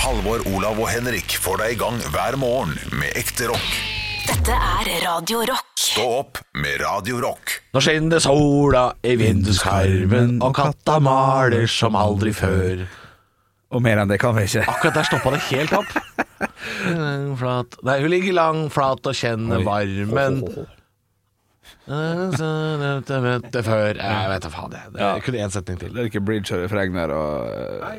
Halvor, Olav og Henrik får deg i gang hver morgen med ekte rock. Dette er Radio Rock. Stå opp med Radio Rock. Nå skinner sola i vinduskarmen, og katta maler som aldri før. Og mer enn det kan vi ikke. Akkurat der stoppa det helt opp. Lang, Flat. Nei, hun ligger lang, flat og kjenner varmen. Jeg vet det før Jeg vet da faen, jeg. Det er kun én setning til. Det er ikke bridge og refreng der og eh,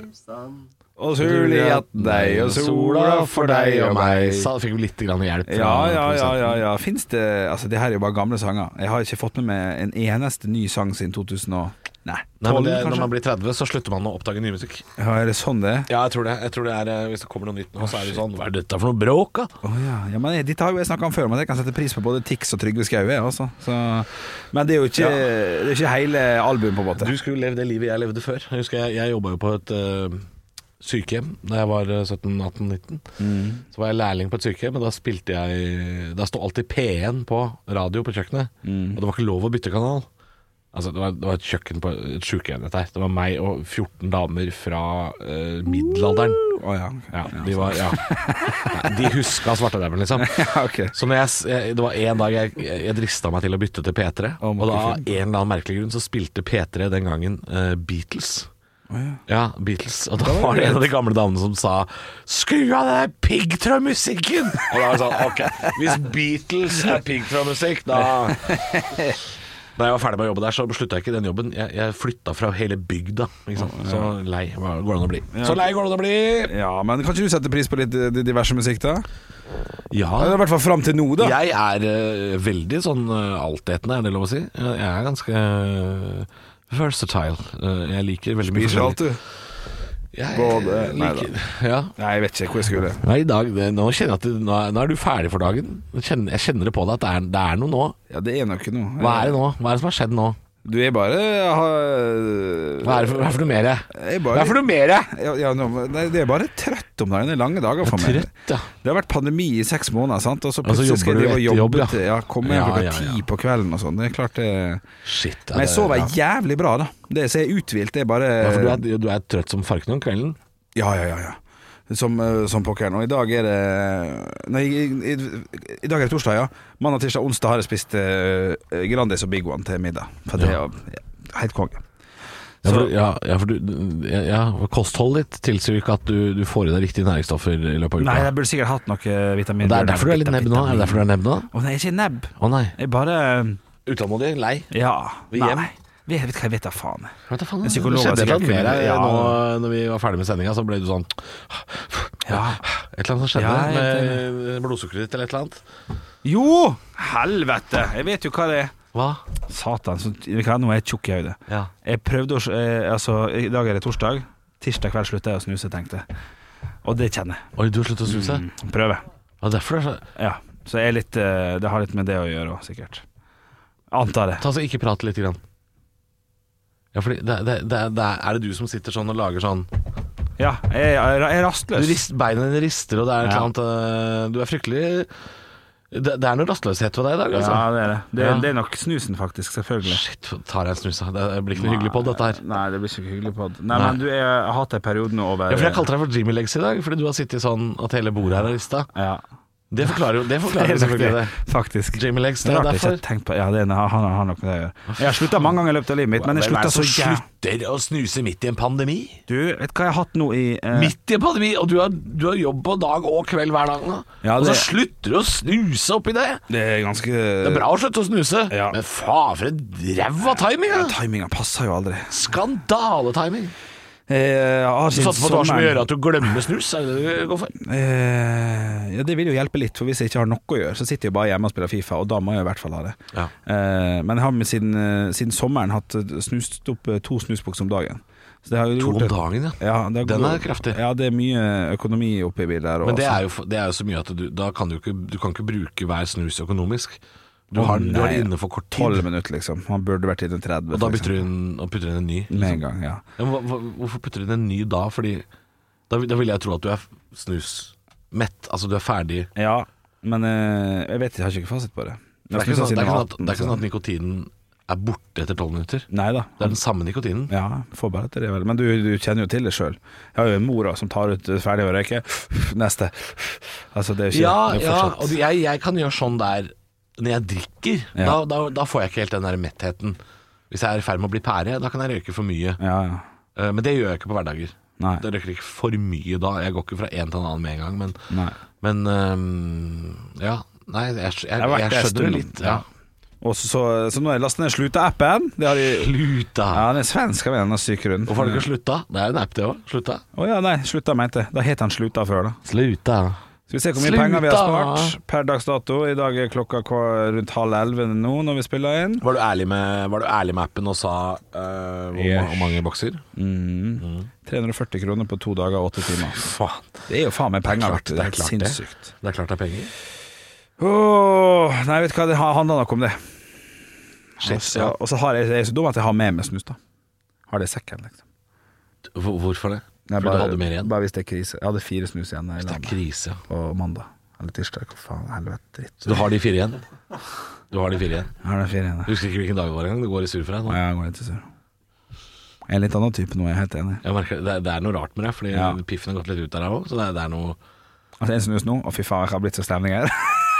Og sul i hatten deg, og sola for deg og meg. Sa- Fikk jo litt grann hjelp. fra Ja, ja, ja. produsenten. ja, ja. Fins det Altså, det her er jo bare gamle sanger. Jeg har ikke fått med meg en eneste ny sang siden 2000 og Nei, 12, Nei, men det, når kanskje? man blir 30, så slutter man å oppdage ny musikk. Ja, er det sånn det er? Ja, jeg tror det. Jeg tror det er, eh, Hvis det kommer noe nytt nå, så er det sånn Hva er dette for noe bråk, da? Å ja. ja, men jeg- Dette har jo jeg snakka om før, men jeg kan sette pris på både Tix og Trygve Skau. jeg, altså. Så- Men det er jo ikke, det er ikke hele albumet, på en måte. Du skulle jo levd det livet jeg levde før. Jeg husker jeg, jeg jobba jo på et øh, sykehjem da jeg var eh, 17-18-19. Så var jeg lærling på et sykehjem, og da spilte jeg Da sto alltid P1 på radio på kjøkkenet. Og det var ikke lov å bytte kanal. Altså, det var, det var et kjøkken på et sykehjem, dette her. Det var meg og 14 damer fra øh, middelalderen. Å ja. ok. Ja, de var Ja. Nei, De huska svartedauden, liksom. Ja, ok. Så når jeg, s- jeg, det var en dag jeg, jeg jeg drista meg til å bytte til P3, Å, og da av en makkefilm. eller annen merkelig grunn så spilte P3 den gangen eh, Beatles. Ja, Beatles. Og da var det en av de gamle damene som sa 'skru av den der piggtrådmusikken'! Og da var det sånn, ok, hvis Beatles er piggtrådmusikk, da Da jeg var ferdig med å jobbe der, så slutta jeg ikke den jobben. Jeg, jeg flytta fra hele bygda. Ikke sant? Så lei var- går det an å bli. Så lei går det an å bli! Ja, men kan ikke du sette pris på litt eh, diverse musikk, da? Ja, Eller I hvert fall fram til nå, da. Jeg er eh, veldig sånn eh, altetende, er det lov å si? Jeg jeg er ganske eh, versatile. Eh, jeg liker veldig mye Ikke alt, du. Jeg, Både- nei liker, ja. Nei, jeg vet ikke hvor jeg skulle. Nei, i dag, det, nå kjenner jeg at du, nå, er, nå er du ferdig for dagen. Jeg kjenner, jeg kjenner det på deg at det er, det er noe nå. Ja, det er nok noe. Hva er det nå? Hva er det som har skjedd nå? Du er bare jeg Hva har- er det for, hva er det for noe mer? Jeg er Hva er det bare for noe mer? ja, ja, nå- nei, Det er bare trøtt om dagen. Det er lange dager for meg. Trøtt, ja. Det har vært pandemi i seks måneder, sant? og så så plutselig skal jobber du jeg drive og etter jobbe jobb, ja. til ja, Komme hjem Ja, klokka ja, ja. ti på kvelden og sånn. Det er klart det Shit. ja, Men jeg det- sover ja. jævlig bra, da. Det så jeg er uthvilt. Det er bare Ja, for du, er, du er trøtt som farken om kvelden? Ja, ja, ja, ja. Som, eh, som pokkeren. Og i dag er det Nei, i, i, i dag er det torsdag, ja. Mandag, tirsdag, onsdag har jeg spist eh, Grandis og Big One til middag. For det er Ja. jo ja, helt konge. Ja, Så- for, ja, ja, for du, ja, ja, for kostholdet ditt tilsier jo ikke at du, du får i deg riktige næringsstoffer i løpet av uka. Nei, jeg burde sikkert hatt noe vitamin. Det er derfor du er litt nebb nå? Er det derfor du er nebb nå? Å nei, ikke nebb. Å nei. Jeg bare eh, Utålmodig? Lei? Ja. Vi er Nei. hjem. Jeg vet hva jeg vet da faen. jeg. Vet du faen, En det psykolog skjedde har et eller sikkert annet med deg eh, kunnet- nå når vi var ferdig med sendinga, så ble du sånn Ja. Et eller annet som skjedde Ja, jeg vet med blodsukkeret ditt eller et eller annet. Jo! Helvete! Jeg vet jo hva det er. Hva? Satan, så, vet du hva, nå er jeg tjukk i hodet. Ja. Jeg prøvde å s- eh, Altså, i dag er det torsdag. Tirsdag kveld slutta jeg å snuse, tenkte jeg. Og det kjenner jeg. Oi, du har sluttet å snuse? Mm. Prøver. Ja, derfor det er så Ja. Så jeg er litt eh, Det har litt med det å gjøre òg, sikkert. Antar det. Ta så ikke prat lite grann. Ja, fordi det, det, det, det er, er det du som sitter sånn og lager sånn Ja, jeg, er- jeg er du rastløs. rist, Beina dine rister, og det er et Ja. eller annet øh, Du er fryktelig Det, det er noe rastløshet ved deg i dag, altså. Ja, det er det. Det, Ja. det er nok snusen, faktisk. Selvfølgelig. Shit, tar jeg en snus, da? Det blir ikke noe hyggelig på dette her. Nei, det blir ikke hyggelig pod. Nei, Nei. men du, jeg har hatt en periode nå over Ja, for jeg kalte deg for Jimmy Legs i dag, fordi du har sittet sånn at hele bordet her er rista. Ja. Det forklarer jo det forklarer jo selvfølgelig det. Faktisk. Faktisk. Jimmy Legs, det Det er er rart jeg ikke derfor. har tenkt på Ja, det er, han har har nok med det å gjøre. Jeg har slutta mange ganger i løpet av livet mitt, men Hvem jeg er slutta det som så jævlig slutter å snuse midt i en pandemi? Du, vet du hva jeg har hatt nå i eh, Midt i en pandemi, og du har, du har jobb på dag og kveld hver dag nå. Ja, Og så det- slutter du å snuse oppi det! Det er ganske Det er bra å slutte å snuse, Ja. men faen for en ræva timing! Ja. Timinga passer jo aldri. Skandaletiming! Eh, Jeg har Du siden satser på at du har så mye å sommeren- gjøre at du glemmer snus? Er det det du går for? Eh, ja, Det vil jo hjelpe litt, for hvis jeg ikke har noe å gjøre, så sitter jeg bare hjemme og spiller Fifa, og da må jeg i hvert fall ha det. Ja. Eh, men jeg har med siden, eh, siden sommeren hatt eh, snust opp eh, to snusbokser om dagen. Så det har jo To gjort om det- dagen, ja. Ja, det Den har gått- er kraftig. Ja, det er mye økonomi oppi bildet her. og Men det altså- er, jo, f- det er jo så mye at du, da kan du, ikke, du kan ikke bruke hver snus økonomisk. Du Å, har, du har nei. det inne for kort tid, 12 minutter, liksom. Han burde vært i den 30. og da for putter du inn, og putter du liksom. inn en ny. eksempel. Med en gang, ja. Ja, men hva- hva- hvorfor putter du inn en ny da? Fordi da, vil- da vil jeg tro at du er f- snusmett. Altså du er ferdig. Ja, men eh, jeg vet jeg har ikke fasit på det. sånn Det er ikke sånn, det er ikke sånn, at, det er ikke sånn at nikotinen er borte etter tolv minutter. Nei da. Det er den samme nikotinen. Ja, får bare etter det, vel. Men du, du kjenner jo til det sjøl. Jeg har jo en mor da, som tar ut eh, ferdig å røyke. Neste. Altså, det er jo ikke Ja, det er ja, fortsatt- og jeg, jeg kan gjøre sånn der når jeg drikker. Ja. Da, da, da får jeg ikke helt den der mettheten. Hvis jeg er i ferd med å bli pære, da kan jeg røyke for mye. ja, ja. Eh, Men det gjør jeg ikke på hverdager. Nei. Da røyker jeg ikke for mye da. Jeg går ikke fra en til en annen med en gang, men, Nei. men øhm, ja. Nei, jeg, jeg, har jeg, vært der en skjønner det stund. litt. Ja. Og så, så, så nå har jeg lastet ned Sluta-appen. Det har de Slutt, da! Ja, den svenske vennen er syk rundt. Hvorfor har du ikke slutta? Det er en app, det òg. Slutta. Å ja, nei, Slutta mente jeg. Da het han Sluta før, da. Sluta. Skal vi se hvor mye Sluta! penger vi har spart per dags dato. I dag er klokka kva- rundt halv elleve nå når vi spiller inn. Var du ærlig med, var du ærlig med appen og sa øh, hvor, Yes. ma- hvor mange bokser? Mm. 340 kroner på to dager og åtte timer. Faen. Det er jo faen meg penger. Klart, vet du. det er klart det. Sinnssykt. Det er klart det er penger. Åh, nei, vet du hva, det ha- handler nok om det. Shit, Og så- ja. Og så har jeg, jeg er så dum at jeg har med meg snus, da. Har det i sekken, liksom. Hvor- Hvorfor det? Nei, Fordi du hadde mer igjen? Bare hvis det er krise. Jeg hadde fire snus igjen da jeg Det la er meg krise, ja. på mandag. Eller tirsdag, hva faen, helvete, dritt. Så du har de fire igjen? Du har de fire igjen. Jeg har den fire igjen, Jeg husker ikke hvilken dag det var engang. Det går i surr for deg da. nå. Ja, jeg går litt i sur. Jeg er litt annen type nå, jeg er helt enig. Jeg merker, det, er, det er noe rart med det, fordi Ja. piffen har gått litt ut der òg. Så det er, det er noe Altså, en snus nå, og fy faen, jeg har blitt så stemning her.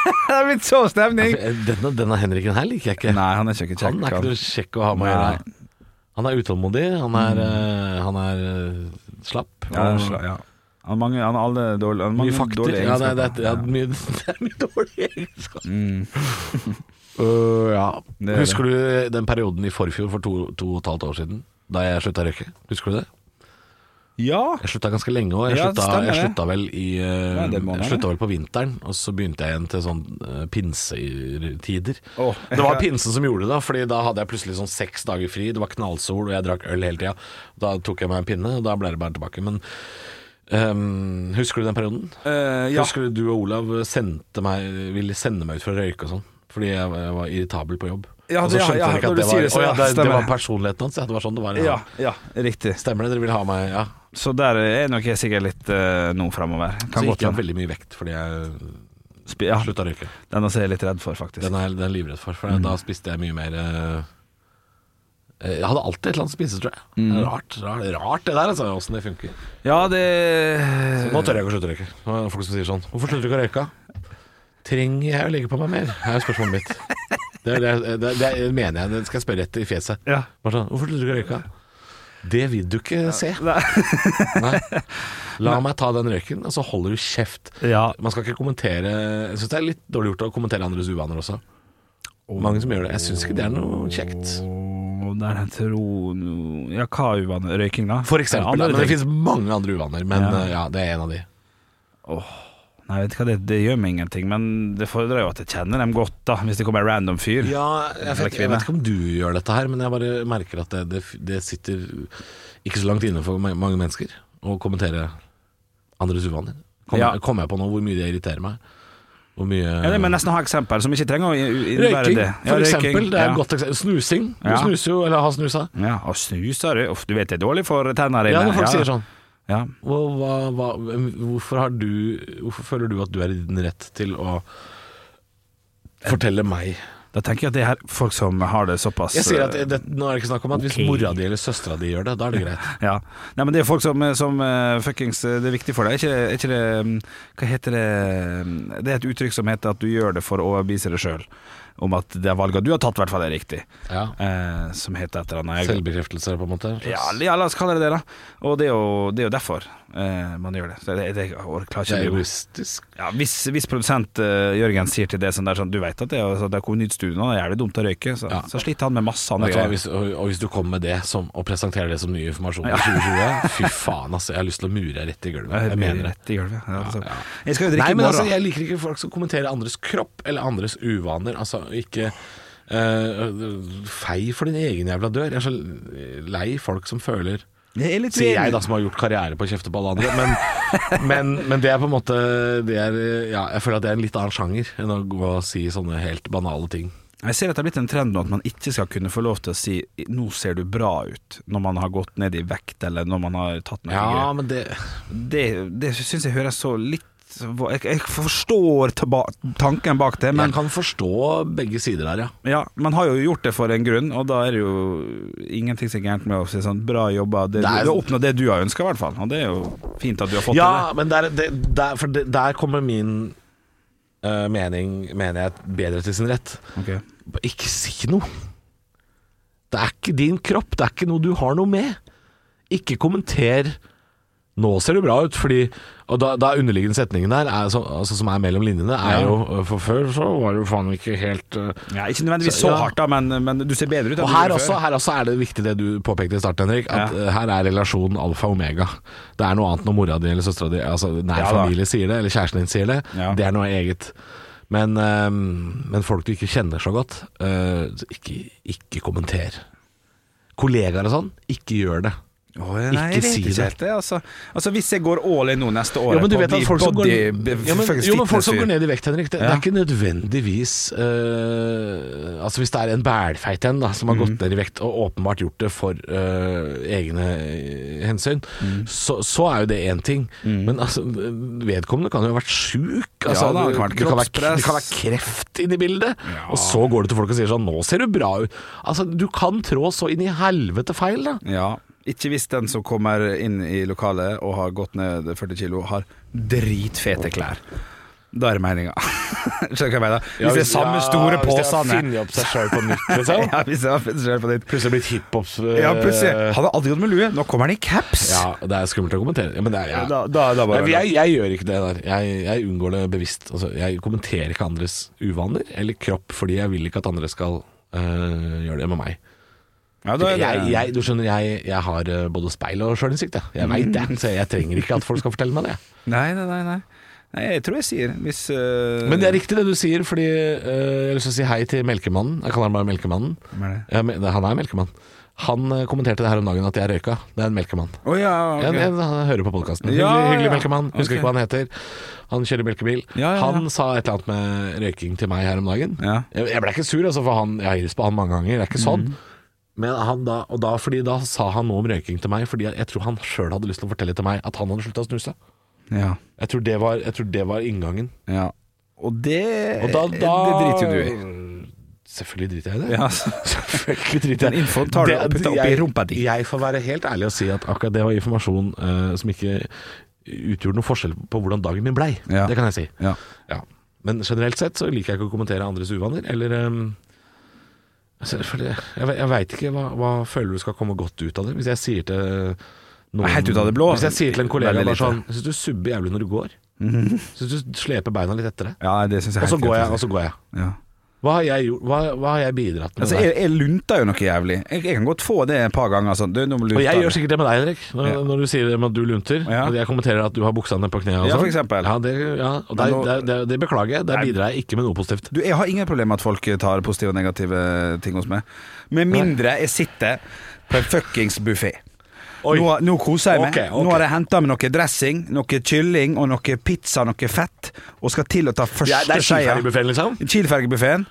det har blitt så stemning! eh, denne, denne Henriken her liker Altså, jeg ikke. Nei, han er ikke kjekk. han er ikke noe kjekk å ha med å gjøre. Han er utålmodig, han er, eh, han er eh, slapp. Mm. Ja, han er sla- ja. Han har mange, han har alle dårlige, han har Mye mange fakter. dårlige Ja, det, er- det, egenskaper. er- det, er mye, det er mye dårlige egenskaper. Mm. Øh, ja. Det er Husker du eh, den perioden i forfjor for to, to og et halvt år siden? Da jeg slutta å røyke. Husker du det? Ja! Jeg slutta ganske lenge òg. Jeg, Ja, det slutta, stemmer jeg det. slutta vel i eh, Ja, det må Jeg være. slutta vel på vinteren, og så begynte jeg igjen til sånn eh, pinsetider. Åh. Det var pinsen som gjorde det, da Fordi da hadde jeg plutselig sånn seks dager fri. Det var knallsol, og jeg drakk øl hele tida. Da tok jeg meg en pinne, og da ble det bare tilbake. Men ehm, husker du den perioden? Eh, ja. Husker du du og Olav sendte meg, ville sende meg ut for å røyke og sånn? Fordi jeg, jeg var irritabel på jobb. Ja, og så ja, skjønte ja, dere ikke når at du det sier var, det, så Å ja, ja, det, det stemmer. var personligheten hans. Ja, det var sånn det var. Ja, ja, riktig. Stemmer det, dere ville ha meg Ja. Så der er nok jeg sikkert litt eh, nå framover. Så Kan gikk godt jeg opp hende. veldig mye vekt fordi jeg Spi- Ja, slutta å røyke. den også er jeg litt redd for, faktisk. Den er den er jeg livredd for, for Mm. da spiste jeg mye mer eh, Jeg hadde alltid et eller annet å spise, tror jeg. Mm. Rart, rart, rart det der, altså, åssen det funker. Ja, det Eh. Nå tør jeg ikke å slutte å røyke. Nå er det Folk som sier sånn Hvorfor slutter du ikke å røyke? Trenger jeg å legge på meg mer? Det er jo spørsmålet mitt. Det, er- det, er- det, er- det er- mener jeg. Det skal jeg spørre etter i fjeset. Ja. Bare sånn, Hvorfor slutter du ikke å røyke? Det vil du ikke se. Nei. Nei. La meg ta den røyken, og så holder du kjeft. Ja. Man skal ikke kommentere Jeg syns det er litt dårlig gjort å kommentere andres uvaner også. Mange som gjør det. Jeg syns ikke det er noe kjekt. Åh, Der jeg tror no- Ja, hva er uvanlig? Røyking, da? For eksempel. da, Andre men det ting. fins mange andre uvaner, men Ja. eh, ja, det er en av de. Nei, vet du hva, det, det gjør meg ingenting, men det fordrer jo at jeg kjenner dem godt, da. Hvis det kommer en random fyr. Ja, jeg vet, jeg vet ikke om du gjør dette her, men jeg bare merker at det, det, det sitter ikke så langt inne for ma- mange mennesker å kommentere andres uvaner. Kommer Ja. jeg, kom jeg på nå hvor mye det irriterer meg? Hvor mye Ja, det må jeg nesten ha eksempel, som ikke trenger å i- i- innebære Røyking, det. Ja, for eksempel. Det er ja. et godt eksempel. Snusing. Du Ja. snuser jo, eller har snusa. Ja, og snuser du? Uff, du vet det er dårlig for tennene dine. Ja, når folk sier sånn Ja. hva, hva, hva, hvorfor, har du, hvorfor føler du at du er i din rett til å fortelle meg Da tenker jeg at det er folk som har det såpass Jeg sier at det, Nå er det ikke snakk om at hvis Ok. mora di eller søstera di gjør det, da er det greit. Ja. Nei, men det er folk som, som eh, fuckings eh, Det er viktig for deg. Er ikke, det- er ikke det mm, Hva heter det mm, Det er et uttrykk som heter at du gjør det for å overbevise deg sjøl om at det valget du har tatt, i hvert fall er riktig. Ja. Eh, som heter et eller annet Selvbekreftelser, på en måte. en slags- ja, ja, la oss kalle det det, da. Og det er jo, det er jo derfor eh, man gjør det. Så det, det jeg det klarer ikke er å bli- egoistisk. ja, hvis, hvis produsent eh, Jørgen sier til det sånn der sånn Du veit at det er, det er konytstudio nå, det er jævlig dumt å røyke, så, Ja. så sliter han med masse andre Vet du hva, greier. hvis, og, og hvis du kommer med det som, og presenterer det som ny informasjon i 2020 Fy faen, altså. Jeg har lyst til å mure deg rett i gulvet. Jeg mener det. Rett i gulvet. Ja, altså. Jeg skal jo drikke Nei, i men morgen. altså, jeg liker ikke folk som kommenterer andres kropp eller andres uvaner. Altså, ikke eh, Fei for din egen jævla dør. Jeg er så lei folk som føler Jeg er litt Sier uenig. jeg da som har gjort karriere på å kjefte på alle andre. Men, men, men det er på en måte det er, ja, Jeg føler at det er en litt annen sjanger enn å gå og si sånne helt banale ting. Jeg ser at det er blitt en trend nå at man ikke skal kunne få lov til å si 'nå ser du bra ut' når man har gått ned i vekt eller når man har tatt noe Ja, grep. men det Det, det syns jeg høres så litt Jeg, jeg forstår taba tanken bak det, men Jeg kan forstå begge sider her, ja. Ja, man har jo gjort det for en grunn, og da er det jo ingenting som er gærent med å si sånn bra jobba. Det, Det er- Du har oppnådd det du har ønska, i hvert fall. Og det er jo fint at du har fått Ja, til det. men der, det, der, for det, der kommer min eh, mening, mener jeg, bedre til sin rett. Ok. Bare Ikke si noe. Det er ikke din kropp, det er ikke noe du har noe med. Ikke kommenter 'nå ser det bra ut', fordi og da, da underliggende setningen der, er, så, altså, som er mellom linjene, er jo eh, For før så var det jo faen ikke helt eh, Ja, ikke nødvendigvis Så- så ja. hardt, da, men, men du ser bedre ut enn og du her gjorde også, før. her også er det viktig det du påpekte i starten, Henrik. At Ja. eh, her er relasjonen alfa og omega. Det er noe annet når mora di eller søstera di, altså nær Ja da. familie, sier det, eller kjæresten din sier det. Ja. Det er noe eget. Men, eh, men folk du ikke kjenner så godt, eh, ikke, ikke kommenter. Kollegaer og sånn, ikke gjør det. Åh, ja, nei, jeg Ikke vet si ikke det. helt det. Altså. altså, hvis jeg går all in nå neste år Ja, men du vet at folk som, går, ja, men, jo, men folk som går ned ned i vekt, Henrik, det, det Ja. er ikke nødvendigvis eh, Altså Hvis det er en bælfeit en da, som har Mm. gått ned i vekt og åpenbart gjort det for eh, egne eh, hensyn, Mm. så, så er jo det én ting. Men altså, vedkommende kan jo ha vært sjuk. Altså, Ja, da, det kan det, være kan være, kroppspress. det kan være kreft inne i bildet. Og så går du til folk og sier sånn 'Nå ser du bra ut'. Altså, du kan trå så inn i helvete feil, da. Ja. Ikke hvis den som kommer inn i lokalet og har gått ned 40 kilo, har dritfete klær. Da er det meninga. Skjønner du hva jeg mener? Hvis det er samme store påsene opp seg sjøl på nytt, liksom. Ja, hvis jeg har funnet selv på ditt Plutselig blitt hiphops... eh, Ja, plutselig. Han har aldri gått med lue. Nå kommer han i caps. Ja, det er skummelt å kommentere. Ja, men det er, ja. Da- da- da bare- Nei, jeg, jeg gjør ikke det der. Jeg, jeg unngår det bevisst. Altså, jeg kommenterer ikke andres uvaner eller kropp, fordi jeg vil ikke at andre skal øh, gjøre det med meg. Ja, da er det- Jeg, jeg, du skjønner, jeg, jeg har øh, både speil og sjølinnsikt. Jeg, jeg Mm. veit det, så jeg trenger ikke at folk skal fortelle meg det. Nei, nei, nei, nei. Nei, jeg tror jeg sier hvis øh, Men det er riktig det du sier, fordi øh, jeg har lyst til å si hei til Melkemannen. Jeg kaller han bare Melkemannen. Hvem er det? Ja, men- han er Melkemann. Han øh, kommenterte det her om dagen at jeg røyka. Det er en Melkemann. Å ja, ok. En, en, han hører på podkasten. Ja, hyggelig, hyggelig ja. melkemann. Husker Ok. ikke hva han heter. Han kjører melkebil. Ja, ja, ja. Han sa et eller annet med røyking til meg her om dagen. Ja. Mhm. Jeg, jeg ble ikke sur, altså, for han, jeg har hilst på han mange ganger. Det er ikke sånn. Men han da, og da, fordi da sa han noe om røyking til meg, fordi jeg, jeg tror han sjøl hadde lyst til å fortelle til meg at han hadde slutta å snuse. ja. Jeg tror det var, jeg tror det var inngangen. ja. Og det Og da, da Eh, Det driter jo du i. Selvfølgelig driter jeg i det. Ja, altså. Selvfølgelig driter jeg Den infoen tar du og putter opp i jeg- rumpa di. Jeg får være helt ærlig og si at akkurat det var informasjon eh, som ikke utgjorde noen forskjell på hvordan dagen min blei. Ja. Det kan jeg si. Ja. Ja. Men generelt sett så liker jeg ikke å kommentere andres uvaner, eller ehm, altså, for det, Jeg, ve- jeg veit ikke hva, hva føler du skal komme godt ut av det. Hvis jeg sier til eh, noen Helt ut av det blå. Hvis jeg sier til en kollega Veldig bare lite. sånn Syns du subber jævlig når du går? Syns du sleper beina litt etter deg? ja, det syns jeg Og så helt går jeg, greit å og si. så går jeg. Ja. Hva har jeg, gjort, hva, hva har jeg bidratt med? Altså, der? jeg, jeg lunter jo noe jævlig. Jeg, jeg kan godt få det et par ganger. Sånn. Du, nå må Og du lunte. jeg gjør sikkert det med deg, Henrik, når, Ja. når du sier det med at du lunter. Ja. At jeg kommenterer at du har buksa ned på kneet. og Ja, for sånn. eksempel. Ja, det, ja, og Men der, nå- der, der, det beklager jeg. Der bidrar jeg ikke med noe positivt. Du, jeg har ingen problemer med at folk tar positive og negative ting hos meg. Med mindre jeg sitter på en fuckings buffé. Oi. Nå, nå koser jeg meg. Ok, ok. Nå har jeg henta med noe dressing, noe kylling og noe pizza og noe fett, og skal til å ta første Ja, skeia. det er skiferdigbuffeen, liksom? Kielfergebuffeen.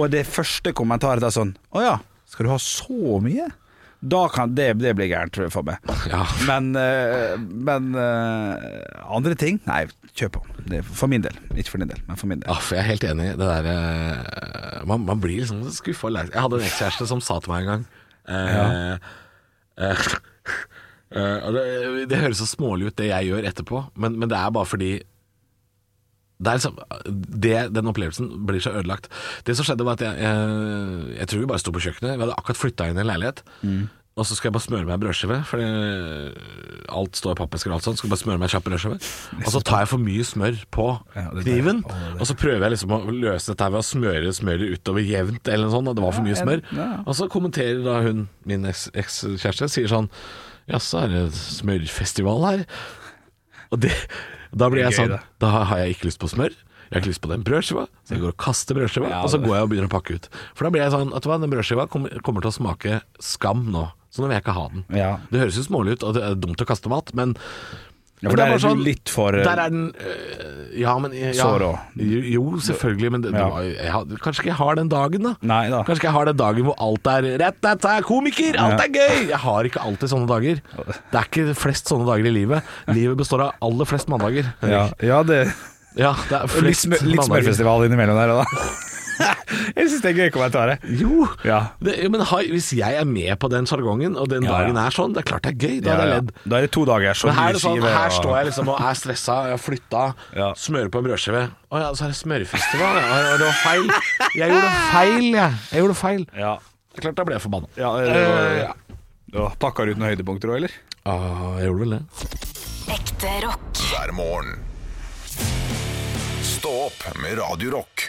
Og det første kommentaret er sånn Å ja, skal du ha så mye? Da kan det, det bli gærent for meg. Ja. Men, eh, men eh, andre ting Nei, kjør på. Det er for min del. Ikke for din del, men for min del. Ja, for jeg er helt enig. i Det der, eh, man, man blir liksom skuffa og lei seg. Jeg hadde en ekskjæreste som sa til meg en gang eh, eh, eh, og det, det høres så smålig ut, det jeg gjør etterpå, men, men det er bare fordi det er liksom, det, den opplevelsen blir så ødelagt. Det som skjedde, var at jeg, jeg, jeg tror vi bare sto på kjøkkenet. Vi hadde akkurat flytta inn i en leilighet. Mm. Og så skal jeg bare smøre meg en brødskive, Fordi alt står i pappesker og alt sånt. Skal bare smøre meg en kjapp brødskive. Og så tar jeg for mye smør på Ja, det- kniven. Å, det- Og så prøver jeg liksom å løse dette her ved å smøre smøret utover jevnt, eller noe sånt. Og det var for mye Ja, smør. en- ja. Og så kommenterer da hun, min eks- ekskjæreste, sier sånn Jaså, er det smørfestival her? Og det, da blir jeg Det er sånn gøy, det. Da har jeg ikke lyst på smør. Jeg har ikke lyst på den brødskiva, så jeg går og kaster brødskiva. Ja, og så det- går jeg og begynner å pakke ut. For da blir jeg sånn at hva, den brødskiva kommer, kommer til å smake skam nå. Så nå vil jeg ikke ha den. Ja. Det høres jo smålig ut, og det er dumt å kaste mat, men Ja, Men for der er bare sånn, du litt for, eh, Der er den øh, Ja, men ja, så rå. Jo, jo, selvfølgelig, men det, det Ja. var, jo- jeg, had- kanskje ikke jeg har den dagen, da. Nei da. Kanskje ikke jeg har den dagen hvor alt er rett, rett, er komiker, alt Ja. er gøy! Jeg har ikke alltid sånne dager. Det er ikke flest sånne dager i livet. Livet består av aller flest mandager. Ja, Henrik. ja det Ja, det er Litt, flest smør, litt mandager. smørfestival innimellom der òg, da. jeg syns det er gøy kommentar. jeg. Jo, Ja. det, jo, men har, hvis jeg er med på den sjargongen, og den Ja, ja. dagen er sånn, det er klart det er gøy. Da hadde Ja, jeg ja. ledd. Da er det to dager så Men her, er mye det sånn, skive, her og- står jeg liksom og er stressa, jeg har flytta, Ja. smører på en brødskive. Å ja, så er det smørfestival. ja. Og Det var feil. Jeg gjorde feil, jeg. Jeg gjorde feil. Ja. Det er klart da ble jeg forbanna. Ja, det var- Eh, Ja, Pakka du ut noen høydepunkter òg, eller? Ah, jeg gjorde vel det. Ekte rock. hver morgen. Stå opp med Radio Rock.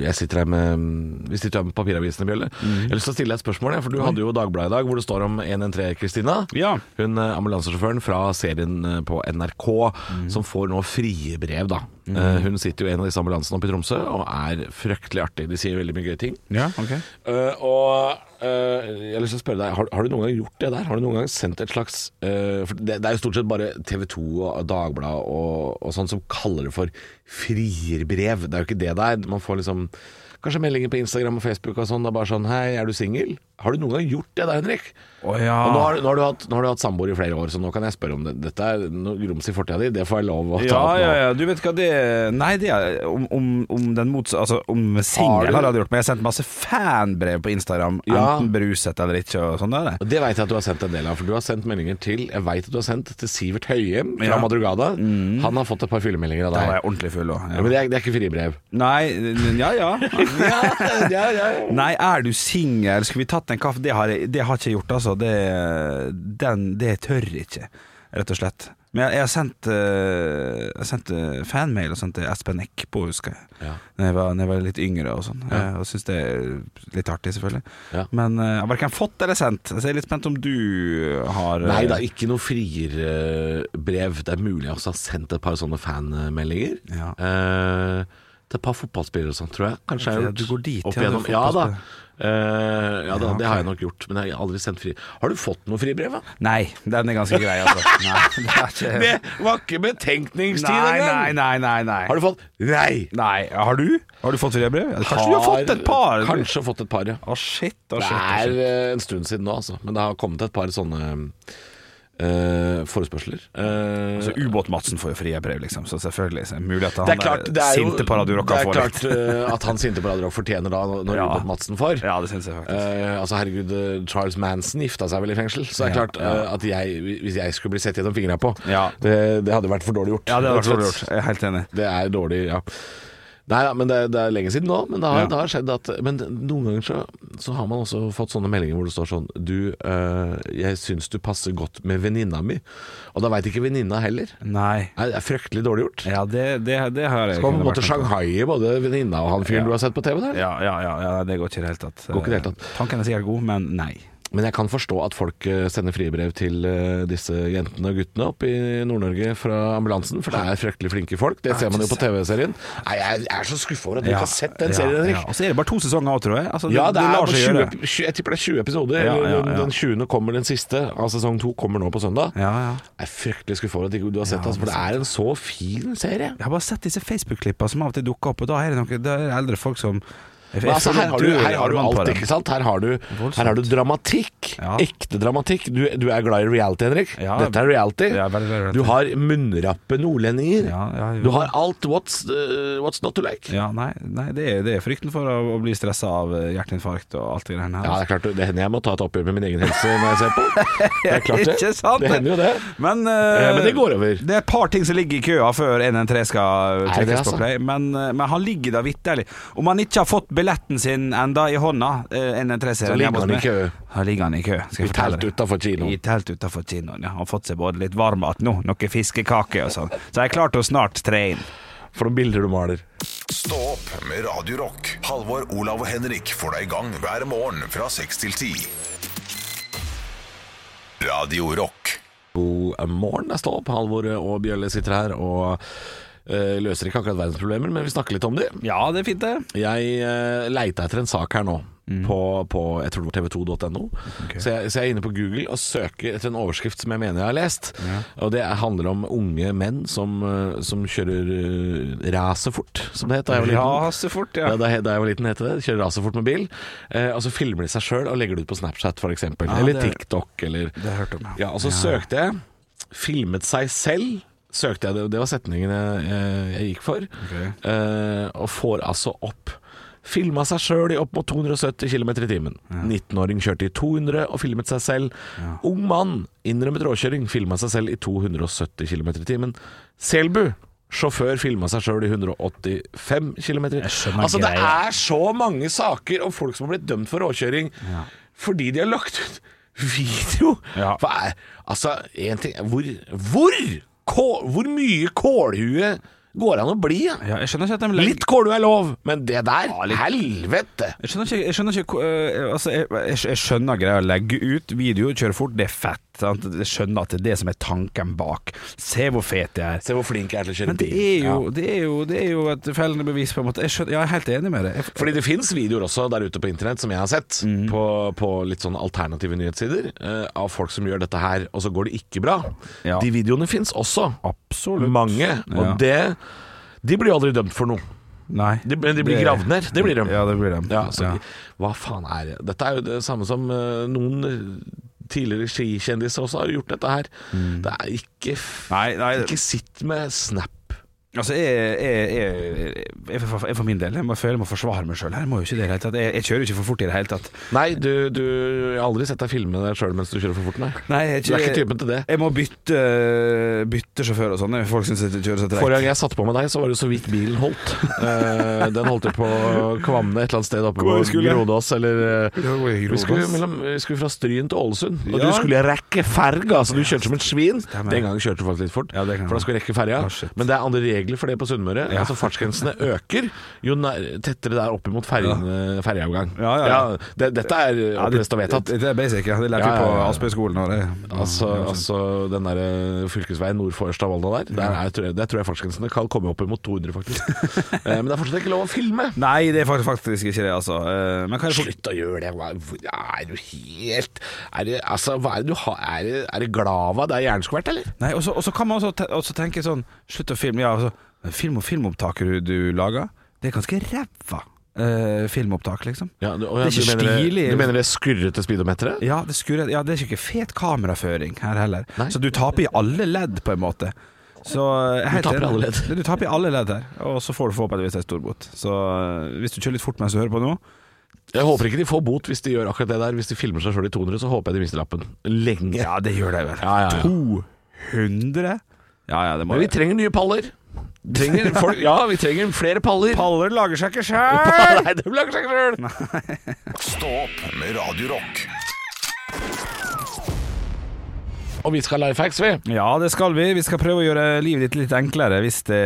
Jeg sitter her med, mm, vi sitter her med papiravisene, Bjelle. Jeg har lyst til å stille deg et spørsmål, jeg, for du hadde jo Dagbladet i dag hvor det står om 113 Kristina. Ja. Hun eh, ambulansesjåføren fra serien eh, på NRK som får nå frie brev, da. Eh, Hun sitter jo i en av disse ambulansene oppe i Tromsø og er fryktelig artig. De sier veldig mye gøye ting. Ja, ok Eh, og eh, jeg har lyst til å spørre deg, har, har du noen gang gjort det der? Har du noen gang sendt et slags eh, For det, det er jo stort sett bare TV 2 og Dagbladet og, og sånn som kaller det for frierbrev. Det er jo ikke det det er. Man får liksom kanskje meldinger på Instagram og Facebook og sånn. Det er bare sånn Hei, er du singel? Har du noen gang gjort det der, Henrik? Å ja. Og nå har, nå, har du hatt, nå har du hatt samboer i flere år, så nå kan jeg spørre om det. Dette er noe grums i fortida di, det får jeg lov å ta Ja, opp nå. ja, ja, du vet hva det Nei, det er om, om, om den motsatte Altså, om Har du- singel har jeg gjort, men jeg har sendt masse fanbrev på Instagram. Ja. Enten beruset eller ikke, og sånn der. Og Det veit jeg at du har sendt en del av, for du har sendt meldinger til Jeg vet at du har sendt til Sivert Høyem fra Ja. Mm. Madrugada. Han har fått et par fyllemeldinger av Da deg. var jeg ordentlig full òg. Ja, men det er, det er ikke fribrev. Nei, ja ja. ja, ja. Nei, er du singel, skulle vi tatt en kaffe? Det har jeg det har ikke jeg gjort, altså. Det, den, det tør jeg ikke, rett og slett. Men jeg, jeg har sendt, eh, jeg har sendt eh, fanmail og sånt til Espen Eckbo, husker jeg. Ja. Når jeg, var, når jeg var litt yngre og sånn. Eh, Og syns det er litt artig, selvfølgelig. Ja. Men eh, jeg har verken fått eller sendt. Så jeg er litt spent om du har eh, Nei da, ikke noe frierbrev. Det er mulig jeg også har sendt et par sånne fanmeldinger. Ja. Eh, til et par fotballspillere og sånn, tror jeg. Kanskje jeg har Ja, gjort du går dit, opp ja, du er igjennom. Ja da. fotballspiller. Eh, ja, da Ja, Det har ok. jeg nok gjort, men jeg har aldri sendt fri. Har du fått noe fribrev, da? Nei, den er ganske grei, altså. Nei, det er ikke Det var ikke betenkningstid Nei, nei, nei, nei, nei. Har du fått Nei! Nei, har du? Har du fått fribrev? Kanskje du har fått et par? du. Kanskje fått et par, ja. Å, shit, å, Det shit, å, er shit. eh, en stund siden nå, altså. Men det har kommet et par sånne eh, forespørsler. Eh, Så Ubåt-Madsen får jo frie brev, liksom. Så selvfølgelig. Så er det mulig at han det er klart, det er jo, sinte på Radio Rock det kan er få klart litt. eh, at han sinte på Radio Rock fortjener da, når Ja. Robert Madsen får. Ja, det syns jeg faktisk. Eh, altså herregud, eh, Charles Manson gifta seg vel i fengsel, så det er Ja, klart eh, at jeg, hvis jeg skulle bli sett gjennom fingra på, Ja. det, det hadde vært for dårlig gjort. Ja, det Rett og hadde vært slett. gjort. Jeg er helt enig. Det er dårlig, ja. Nei, ja, men det, det er lenge siden nå, men det har, Ja. det har skjedd at Men noen ganger så, så har man også fått sånne meldinger hvor det står sånn Du, eh, jeg syns du passer godt med venninna mi. Og da veit ikke venninna heller. Nei. Nei, det er fryktelig dårlig gjort. Ja, det, det, det har jeg Skal man på en kunne måte vært med på. shanghaie både venninna og han fyren Ja. du har sett på TV der? Ja, ja, ja, ja, det går ikke i det hele tatt. Går ikke i det hele tatt. Eh, Tanken er sikkert god, men nei. Men jeg kan forstå at folk eh, sender fribrev til eh, disse jentene og guttene oppe i Nord-Norge fra ambulansen, for det er fryktelig flinke folk. Det ser man jo på TV-serien. Nei, jeg er så skuffa over at du ikke har sett den serien, Henrik. Og så er det bare to sesonger òg, tror jeg. Altså, Ja, det er lar på seg 20, gjøre. epi- tjue- jeg tipper det er 20 episoder. Ja, eller ja, den- ja. Den 20. kommer den siste av sesong 2, kommer nå på søndag. Ja, ja. Jeg er fryktelig skuffa over at ikke du har sett Ja, den, altså, for det er en så fin serie. Jeg har bare sett disse Facebook-klippa som av og til dukker opp, og da er det noen da er det eldre folk som jeg, Men altså, her har du, her har du alt, ikke ikke sant? Her har du, her har du dramatikk. Ja. Ekte dramatikk. Du, du er glad i reality, Henrik. Ja. Dette er reality. Ja, veldig glad i reality. Du har munnrappe nordlendinger. Ja, ja, jo. du har alt what's, eh, what's not to like. Ja, nei, nei det, er, det er frykten for å, å bli stressa av eh, hjerteinfarkt og alt det greiene her. Ja, det er klart det hender jeg må ta et oppgjør med min egen helse når jeg ser på. Det er klart det. Ikke sant? Det hender jo det. Men, eh, Eh, men det går over. Det er et par ting som ligger i køa før 113 skal Er det trekkes altså? på play, men, eh, men han ligger da vitterlig. Om han ikke har fått billetten sin enda i hånda, eh, 113 Så ligger han i kø. Da ligger han i kø. Skal I jeg fortelle telt deg. utenfor kinoen. I telt utenfor kinoen, ja. Han har fått seg både litt varmmat nå, noe fiskekake og sånn. Så jeg klarte å snart tre inn. For noen bilder du maler. Stå opp med Radio Rock. Halvor, Olav og Henrik får deg i gang hver morgen fra 6 til 10. Radio Rock. God eh, morgen, det er Stå opp. Halvor og Bjølle sitter her og eh, løser ikke akkurat verdensproblemer, men vi snakker litt om de. Ja, det er fint, det. Jeg uh, leita eh, etter en sak her nå Mm. på, på jeg tror det var tv2.no. Så, jeg- så jeg er inne på Google og søker etter en overskrift som jeg mener jeg har lest. Og det handler om unge menn som, eh, som kjører uh, racerfort, som det het da jeg var liten. fort, Ja. Da, da jeg var liten het det. Kjører racerfort med bil. Eh, og så filmer de seg sjøl og legger det ut på Snapchat f.eks. eksempel eller Ah, det- TikTok eller Det har jeg hørt om, ja. ja. altså- Og så søkte jeg. Filmet seg selv. Søkte jeg, Det, det var setningen jeg, eh, jeg gikk for. Ok. Eh, og får altså opp Filma seg sjøl i opp mot 270 km i timen. 19-åring kjørte i 200 og filmet seg selv. Ung mann innrømmet råkjøring, filma seg selv i 270 km i timen. Selbu sjåfør filma seg sjøl i 185 km. skjønner Altså, det greia. er så mange saker om folk som har blitt dømt for råkjøring fordi de har lagt ut video. Ja. Hva er Altså, én ting Hvor Hvor, kå- hvor mye kålhue går det an å bli? Ja? Ja, jeg skjønner ikke at de legger- Litt kålhue er lov, men det der Helvete! Jeg skjønner ikke, jeg skjønner ikke hvor- eh, altså, jeg, jeg, jeg skjønner greia å legge ut video, kjøre fort, det er fett. Sant? Jeg skjønner at det er det som er tanken bak. Se hvor fet jeg er. Se hvor flink jeg er til å kjøre Men det er jo, det er jo, det er jo et fellende bevis, på en måte. Jeg, skjønner, ja, jeg er helt enig med deg. Jeg, Fordi det fins videoer også der ute på internett som jeg har sett, på, på litt sånn alternative nyhetssider, eh, av folk som gjør dette her, og så går det ikke bra. Ja. De videoene fins også. absolutt. Mange. Og Ja. det De blir jo aldri dømt for noe. Nei. De, men de blir gravd ned. Det blir de. Ja, det blir de. Ja, så, Ja. altså, Altså, Hva faen er det? Dette er jo det samme som eh, noen tidligere skikjendiser også har gjort dette her. Det er ikke f Mm. Nei, nei. Ikke sitt med snap. Altså, jeg, jeg, jeg, jeg, for- jeg for min del, jeg må føle jeg må forsvare meg sjøl her. Jeg må jo ikke det i det hele tatt. Jeg, jeg kjører jo ikke for fort i det hele tatt. Nei, du, du Jeg har aldri sett deg filme deg sjøl mens du kjører for fort, nei. Nei, jeg, Du er ikke typen til det. Jeg må bytte, bytte sjåfør og sånn. Folk syns jeg kjører så tregt. Forrige gang jeg satte på med deg, så var det så vidt bilen holdt. Eh, den holdt jo på Kvamne et eller annet sted oppe på Hvor skulle jeg? Grodås, eller eh, Ja, hvor er Grodås? vi, skulle mellom, vi skulle fra Stryn til Ålesund, og Ja. du skulle rekke ferga, så du kjørte som et svin. Den gangen kjørte du faktisk litt fort, Ja, det kan for da skulle du rekke ferga. Ah, shit. Men det er andre regler for det på Sunnmøre. Ja. Altså Fartsgrensene øker jo nær, tettere det er opp mot ferjene- ferjeavgang. Ja, ja, ja. det, dette er Ja, opplest og vedtatt. Det, det er basic, ja. Det lærte Ja, ja, ja, vi på ja. Aspøy-skolen. og det- Altså, altså den der eh, fylkesveien nord for Østavollna der, der, er, tror jeg- der tror jeg fartsgrensene kan komme opp imot 200, faktisk. Eh, Men det er fortsatt ikke lov å filme. Nei, det er faktisk, faktisk ikke det, altså. Eh, Men hva er det for Slutt å gjøre det. Hva, hvor- er du helt er det, altså, hva er det du har Er det, er det Glava det er jernskvert, eller? Nei, og så- og så kan man også, te også tenke sånn Slutt å filme. Ja, altså, film og filmopptaket du, du lager, det er ganske ræva eh, filmopptak, liksom. Ja, du, å, Det er ikke du mener, stilig. Du mener det skurrete speedometeret? Ja, det, skurrer, ja, det er ikke fet kameraføring her heller. Nei. Så du taper i alle ledd, på en måte. Så, jeg er helt taper i enig. alle ledd. Du taper i alle ledd her, og så får du forhåpentligvis en stor bot. Så eh, hvis du kjører litt fort mens du hører på nå Jeg håper ikke de får bot hvis de gjør akkurat det der. Hvis de filmer seg sjøl i 200, så håper jeg de mister lappen. Lenge. Ja, det gjør det vel. Ja, ja, ja. 200? Ja, ja, det må Men vi trenger nye paller. Trenger folk, ja, vi trenger flere paller. Paller lager seg ikke sjøl! Nei, det blir ikke sjøl! Stå opp med Radio Rock. Og vi skal ha lifehacks, vi. Ja, det skal vi. Vi skal prøve å gjøre livet ditt litt enklere hvis det,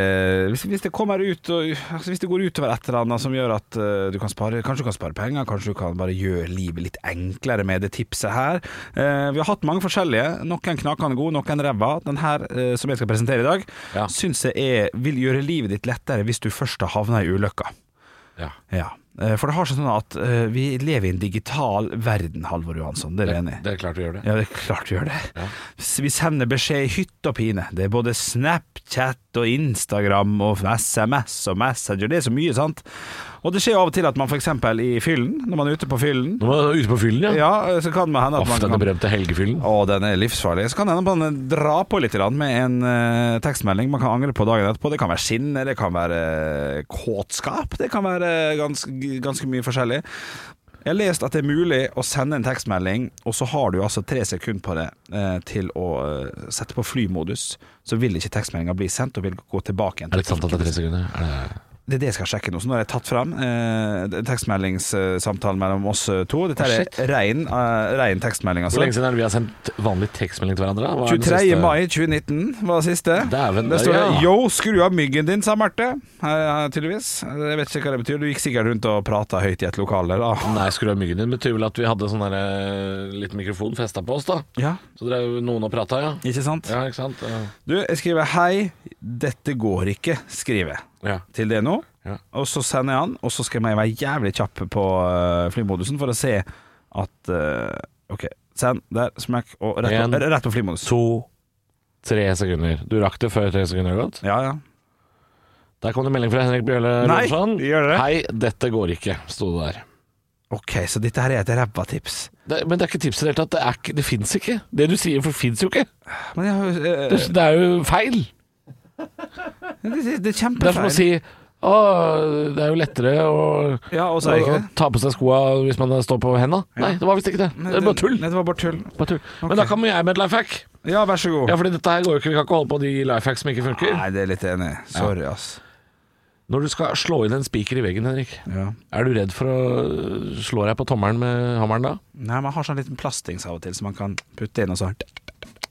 hvis, hvis det kommer ut og, altså Hvis det går utover et eller annet som gjør at eh, du kan spare Kanskje du kan spare penger, kanskje du kan bare gjøre livet litt enklere med det tipset her. Eh, vi har hatt mange forskjellige. Noen knakende gode, noen ræva. Den her eh, som jeg skal presentere i dag, Ja. syns jeg er, vil gjøre livet ditt lettere hvis du først har havna i ulykka. Ja. Ja. Eh, For det har seg sånn at eh, vi lever i en digital verden, Halvor Johansson. Det er du enig i? Det er klart vi gjør det. Ja, det er klart vi gjør det. S- Vi sender beskjed i hytt og pine. Det er både Snapchat og Instagram og SMS og Messenger. Det er så mye, sant? Og det skjer av og til at man f.eks. i fyllen, når man er ute på fyllen Nå må du ute på fyllen, ja. Ja, så kan det hende at Aff, man denne kan berømte helgefyllen. å, den er livsfarlig. Så kan det hende at man drar på litt grann med en eh, tekstmelding man kan angre på dagen etterpå. Det kan være sinne, det kan være eh, kåtskap, det kan være eh, ganske, ganske mye forskjellig. Jeg har lest at det er mulig å sende en tekstmelding, og så har du altså tre sekunder på det eh, til å eh, sette på flymodus. Så vil ikke tekstmeldinga bli sendt, og vil gå tilbake igjen. Er til det ikke sant at det er tre sekunder? Er det... det er det jeg skal sjekke nå. Så nå har jeg tatt fram eh, tekstmeldingssamtalen mellom oss eh, to. Dette Å, er rein, eh, rein tekstmelding, altså. Hvor lenge siden er det vi har sendt vanlig tekstmelding til hverandre? da? Hva er den 23. siste? mai 2019 var siste. Dæven, Der står det ja. 'Yo, skru av myggen din', sa Marte. Eh, tydeligvis. Jeg vet ikke hva det betyr. Du gikk sikkert rundt og prata høyt i et lokale, da. Nei, skru av myggen din betyr vel at vi hadde sånn der, eh, liten mikrofon festa på oss, da. Ja, Så drev noen og prata, ja. ikke sant? Ja, ikke sant? Ja. Du, jeg skriver 'Hei, dette går ikke', skriver jeg Ja. til det nå. Ja. Og så sender jeg han, og så skal jeg være jævlig kjapp på eh, flymodusen for å se at eh, OK, send, der, smekk, og rett, En. på- eh, rett på flymodus. To, tre sekunder. Du rakk det før tre sekunder har gått? Ja, ja. Der kom det melding fra Henrik Bjørle Nei, Ronsson. gjør det? Hei, dette går ikke, sto det der. OK, så dette her er et ræva tips. Det, men det er ikke tips i det hele tatt. Det, er ikke- det fins ikke. Det du sier, for fins jo ikke. Men jeg, har jo, eh, Det, det er jo feil. det, det, det er Det er som å kjempefeil. si å, det er jo lettere å, Ja, og så er det ikke å- det. å ta på seg skoa hvis man står på henda. Nei, det var visst ikke det. Nei, Det er bare tull. Nei, det var bare tull. Bare tull. Ok. Men da kommer jeg med et life hack. Ja, vær så god. Ja, fordi dette her går jo ikke. Vi kan ikke holde på de life hacks som ikke funker. Nei, det er jeg litt enig. i. Sorry, ass. Når du skal slå inn en spiker i veggen, Henrik, Ja. er du redd for å øh, slå deg på tommelen med hammeren da? Nei, man har sånn liten plastings av og til som man kan putte inn og sånn.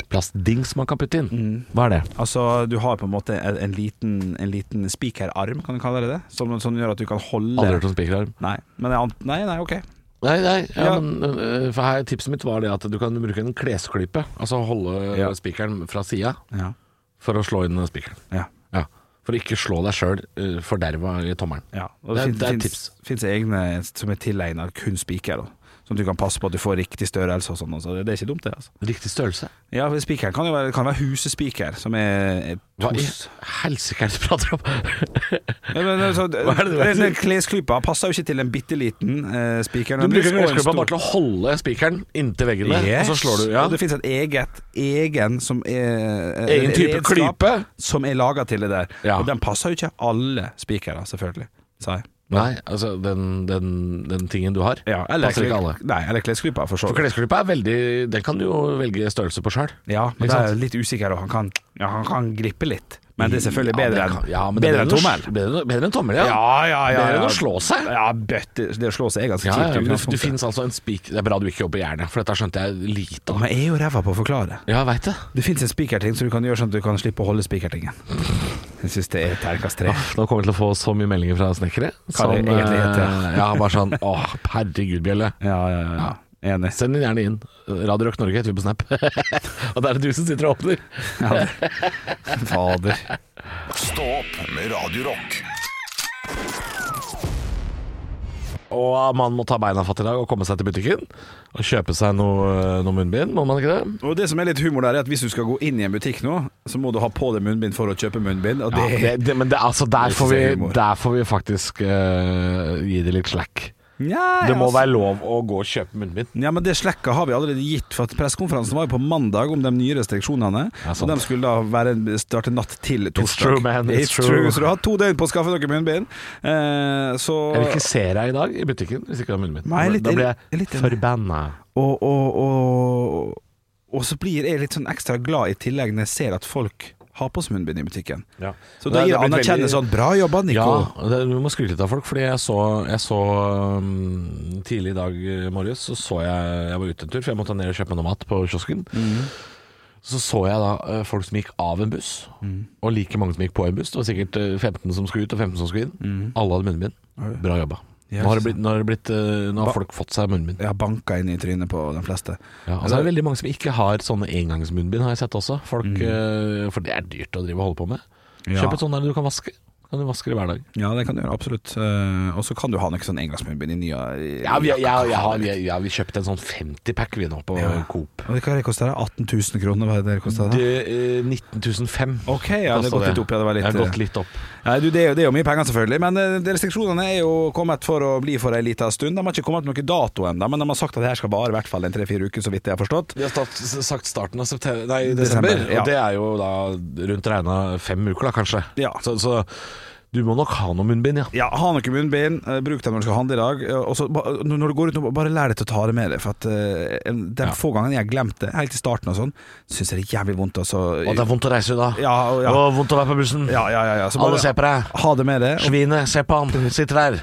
Plastdings man kan putte inn. Mm. Hva er det? Altså, du har på en måte en, en liten, en liten spikerarm, kan du kalle det det? Som som gjør at du kan holde Aldri hørt om spikerarm. Nei, men jeg ant- Nei, nei, ok. Nei, nei, ja, Ja. men øh, for her, tipset mitt var det at du kan bruke en klesklype. Altså holde Ja. spikeren fra sida Ja. for å slå inn spikeren. ja. Ja, for å ikke slå deg sjøl uh, forderva i tommelen. ja. Og Det er- det, det er et fins, tips. fins egne som er tilegna kun spiker, da. Sånn at du kan passe på at du får riktig størrelse og sånn. og Så det det er ikke dumt, det. altså Riktig størrelse. Ja, for Spikeren kan jo være, kan være husespiker, som er er Hva i tos. helsike er det du prater om? Ja, men altså, Hva er det du den- den Klesklypa passer jo ikke til en bitte liten eh, spiker. du bruker klesklubba bare til å holde spikeren inntil veggen der, Yes. og så slår du. Ja. Og det finnes et eget egen som er Egen et type klype? Som er laga til det der. Ja. Og den passer jo ikke alle spikere, selvfølgelig. Sa jeg. Nei, altså den, den, den tingen du har, eller passer ikke alle. Nei, eller klesklypa, for så For vidt. klesklypa er veldig Den kan du jo velge størrelse på sjøl. Ja, men Ikke da sant? er jeg litt usikker, og han kan, ja, han kan glippe litt. Men det er selvfølgelig bedre enn ja, men det er bedre enn å- tommel. Bedre, bedre enn tommel, ja. Ja, ja, ja. Bedre enn ja. å slå seg. Ja, bøtte, det å slå seg er ganske Ja, kjipt. ja, men i det, det utgangspunktet. finnes altså en spiker Det er bra du ikke jobber i hjernen, for dette skjønte jeg lite om. Men jeg er jo ræva på å forklare. Ja, jeg veit det. Det fins en spikerting som du kan gjøre sånn at du kan slippe å holde spikertingen. Jeg syns det er terningkast tre. Nå kommer vi til å få så mye meldinger fra snekkere. det som, egentlig heter, eh, ja, bare sånn Å, herregud, Bjelle. Ja, ja, ja. Enig. Send den gjerne inn. Radio Rock Norge heter vi på Snap. og da er det du som sitter og åpner. Fader. Stå opp med Radio Rock. Og man må ta beina fatt i dag og komme seg til butikken og kjøpe seg noe, eh, noe munnbind, må man ikke det? Og det som er litt humor der, er at hvis du skal gå inn i en butikk nå, så må du ha på deg munnbind for å kjøpe munnbind. Og det, Ja, det, det men det, altså, der, Det får synes jeg er vi, humor. der får vi faktisk eh, gi det litt slack. Nei, Det må altså. være lov å gå og kjøpe munnbind. Ja, men det slekka har vi allerede gitt, for at pressekonferansen var jo på mandag om de nye restriksjonene. Ja, sant. og de skulle da være, starte natt til torsdag. true, man, it's true. Så du har to døgn på å skaffe dere munnbind. Eh, så Jeg vil ikke se deg i dag i butikken hvis ikke du har munnbind. Nei, jeg er litt- da blir jeg, jeg er litt enig. forbanna. og, og, og, og så blir jeg litt sånn ekstra glad i tillegg når jeg ser at folk har på seg munnbind i butikken. Så da Nei, det gir jeg blir anerkjennelse veldig- sånn Bra jobba, Nico. Ja, det, du må skryte litt av folk, fordi jeg så, jeg så um, tidlig i dag eh, morges så så jeg, jeg var ute en tur, for jeg måtte ned og kjøpe noe mat på kiosken. Så så jeg da eh, folk som gikk av en buss, og like mange som gikk på en buss. Det var sikkert eh, 15 som skulle ut, og 15 som skulle inn. Alle hadde munnbind. Bra jobba. Ja, Nå har, det ikke blitt, nå har, det blitt, eh, nå har folk fått seg munnbind. Jeg har banka inn i trynet på de fleste. Ja, og så er det veldig mange som ikke har sånne engangsmunnbind, har jeg sett også. Folk, eh, for det er dyrt å drive og holde på med. Ja. Kjøp et sånt der du kan vaske. Kan du vaske det hver dag? Ja, det kan du gjøre, absolutt. Eh, og så kan du ha noe sånn engangsmunnbind i nye Ja, vi, ja, ja, har- vi, ja, vi kjøpte en sånn 50-pack vi nå på Ja. Coop. Og det- Hva er det koster det? 18 000 kroner? Hva er det det koster? Det, Det? eh, 19.500 Ok, ja, det har kostet gått litt opp. Ja, det var litt, eh, har gått litt opp. Nei, du, det, er jo, det er jo mye penger, selvfølgelig. Men eh, de restriksjonene er jo kommet for å bli for ei lita stund. De har ikke kommet med noen dato ennå, men de har sagt at det her skal vare i hvert fall en tre-fire uker, så vidt jeg har forstått. De har start, sagt starten av september, nei, Desember, desember, ja. og det er jo da rundt regna fem uker, da kanskje. Ja. Så, så du må nok ha noe munnbind, ja. Ja, ha noe munnbind, eh, bruk dem når du skal handle i dag. eh, Og så, ba- når når du går ut, nå, bare lær deg til å ta det med deg. For at eh, en- de Ja. få gangene jeg har glemt det, helt i starten og sånn, syns jeg det er jævlig vondt. Altså. Og det er vondt å reise da. Ja, og- ja. Og vondt å være på bussen. Ja, ja, ja, ja. Så Alle ser på deg. Ha det med deg. Og, Svinet, se på han, sitter der.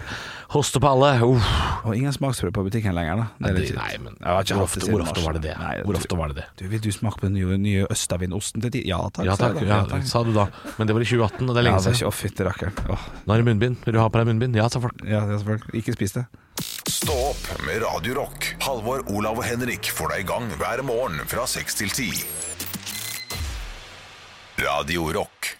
Hoster på alle. Uff. og ingen smaksprøve på butikken lenger, da. Det er litt kjipt. Nei, men Jeg har ikke hvor hatt ofte, det siden hvor ofte mars. var det det? Nei, Hvor ofte var det det? Du, Vil du smake på den nye, nye Østavindosten til tid? Ja takk. Ja sa jeg takk, da. ja, takk. sa du da. Men det var i 2018, og det er Ja, lenge det var siden. ikke Å, fytti rakkeren. Åh, Nå er det munnbind. Vil du ha på deg munnbind? Ja, sa folk. Ja, ja, selvfølgelig. Ikke spis det. Stå opp med Radio Rock. Halvor, Olav og Henrik får deg i gang hver morgen fra 6 til 10. Radio Rock.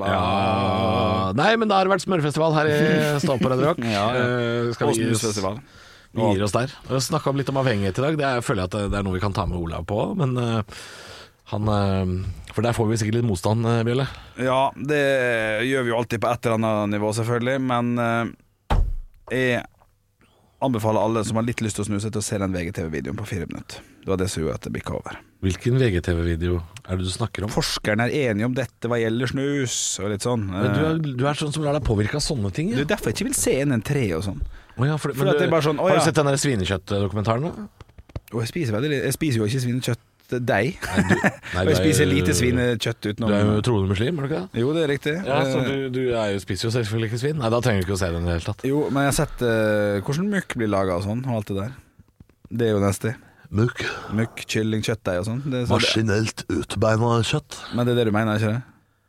Ja. Nei, men det har vært smørfestival her i Stå på Radio Rock. Ja, ja. Eh, skal Og vi gi oss- snusfestival. Vi gir oss der. Vi har snakka litt om avhengighet i dag. Det er, jeg føler jeg at det er noe vi kan ta med Olav på. Men eh, han eh, For der får vi sikkert litt motstand, eh, Bjelle. Ja, det gjør vi jo alltid på et eller annet nivå, selvfølgelig, men eh, jeg anbefaler alle som har litt lyst til å snuse, til å se den VGTV-videoen på fire minutter. Det var det som gjorde at det bikka over. Hvilken VGTV-video er det du snakker om? Forskerne er enige om dette hva gjelder snus, og litt sånn. Men du, er, du er sånn som lar deg påvirke av sånne ting. Det Ja. er derfor jeg ikke vil se inn en tre og sånn. Å ja, for, men For at du- det er bare sånn, å Har ja. du sett den der svinekjøttdokumentaren? da? Og jeg spiser veldig litt Jeg spiser jo ikke svinekjøttdeig. Nei, Og jeg du er spiser jo- lite svinekjøtt Du er utenom. jo troende muslim, er du ikke det? Jo, det er riktig. Ja, så Eh, du, du er jo, spiser jo selvfølgelig ikke svin. Nei, da trenger du ikke å se den i det hele tatt. Jo, men jeg har sett eh, hvordan mukk blir laga og sånn, og alt det der. Det er jo nasty. Mukk. Mukk, kylling, kjøttdeig og sånn. Det- så det- Maskinelt utbeina kjøtt. Men det er det du mener, ikke det?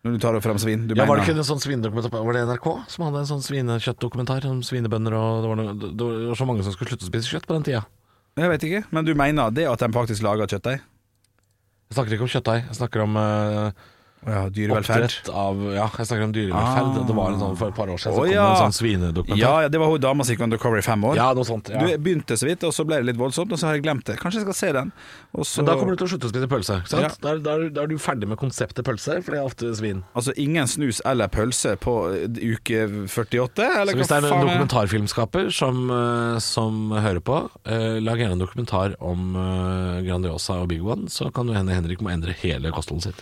Når du tar opp frem svin? Du Ja, Var det ikke mener en sånn svinedokumentar Var det NRK som hadde en sånn svinekjøttdokumentar om svinebønder og det var, noe, det var så mange som skulle slutte å spise kjøtt på den tida. Jeg vet ikke, men du mener det at de faktisk lager kjøttdeig? Jeg snakker ikke om kjøttdeig, jeg snakker om eh, Ja, dyrevelferd. oppdrett av Ja, jeg snakker om dyrevelferd. Ah. Det var en sånn for et par år siden, Å, så kom det ja. en sånn svinedokumentar. Ja, ja, det var hun dama som gikk undercover i fem år. Ja, noe sånt. Ja. Du begynte så vidt, og så ble det litt voldsomt, og så har jeg glemt det. Kanskje jeg skal se den. Og så, Men da kommer du til å slutte å spise pølse. ikke Ja. Sant? Da er- da er- da er du ferdig med konseptet pølse, for det er ofte svin. Altså ingen snus eller pølse på eh, uke 48, eller Så hvis det er en dokumentarfilmskaper som, eh, som hører på, eh, lag gjerne en dokumentar om eh, Grandiosa og Big One, så kan det hende Henrik må endre hele kostholdet sitt.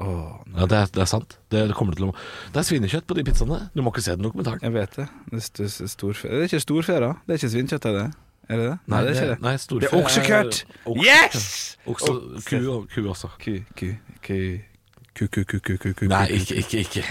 Åh, Ja, det, er, det er sant. Det, det, kommer til å, det er svinekjøtt på de pizzaene. Du må ikke se den dokumentaren. Jeg vet det. Det er, st- st- storfe. det er ikke storfe, da. Det er ikke svinkjøtt, er det? Er det det? Nei, det er ikke det. Nei, storfe Det er oksekjøtt! Okse- Yes! Okse, ku, og- ku også. Ku, ku, ku, ku, ku, ku, ku, ku, ku. Nei, ikke, ikke, ikke.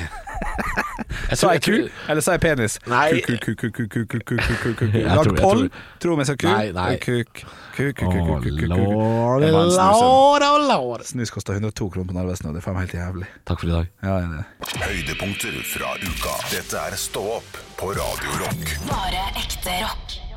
Jeg Sa tror- jeg ku, tror- eller sa jeg penis? Nei. Ku, ku, ku, ku, ku, ku, ku, ku, ku, ku, ku. Jeg Lag tror- jeg poll. tror- Tror vi sa ku. Nei, nei. Og Kuk, ku, ku, ku, ku, ku, ku, ku, ku. Lord, Det var en snus, ja. Lord, oh, Lord. Snus koster 102 kroner på Narvesen, og det er faen meg helt jævlig. Takk for i dag. Ja, det er det. Høydepunkter fra uka. Dette er Stå opp på Radio Rock. Bare ekte rock.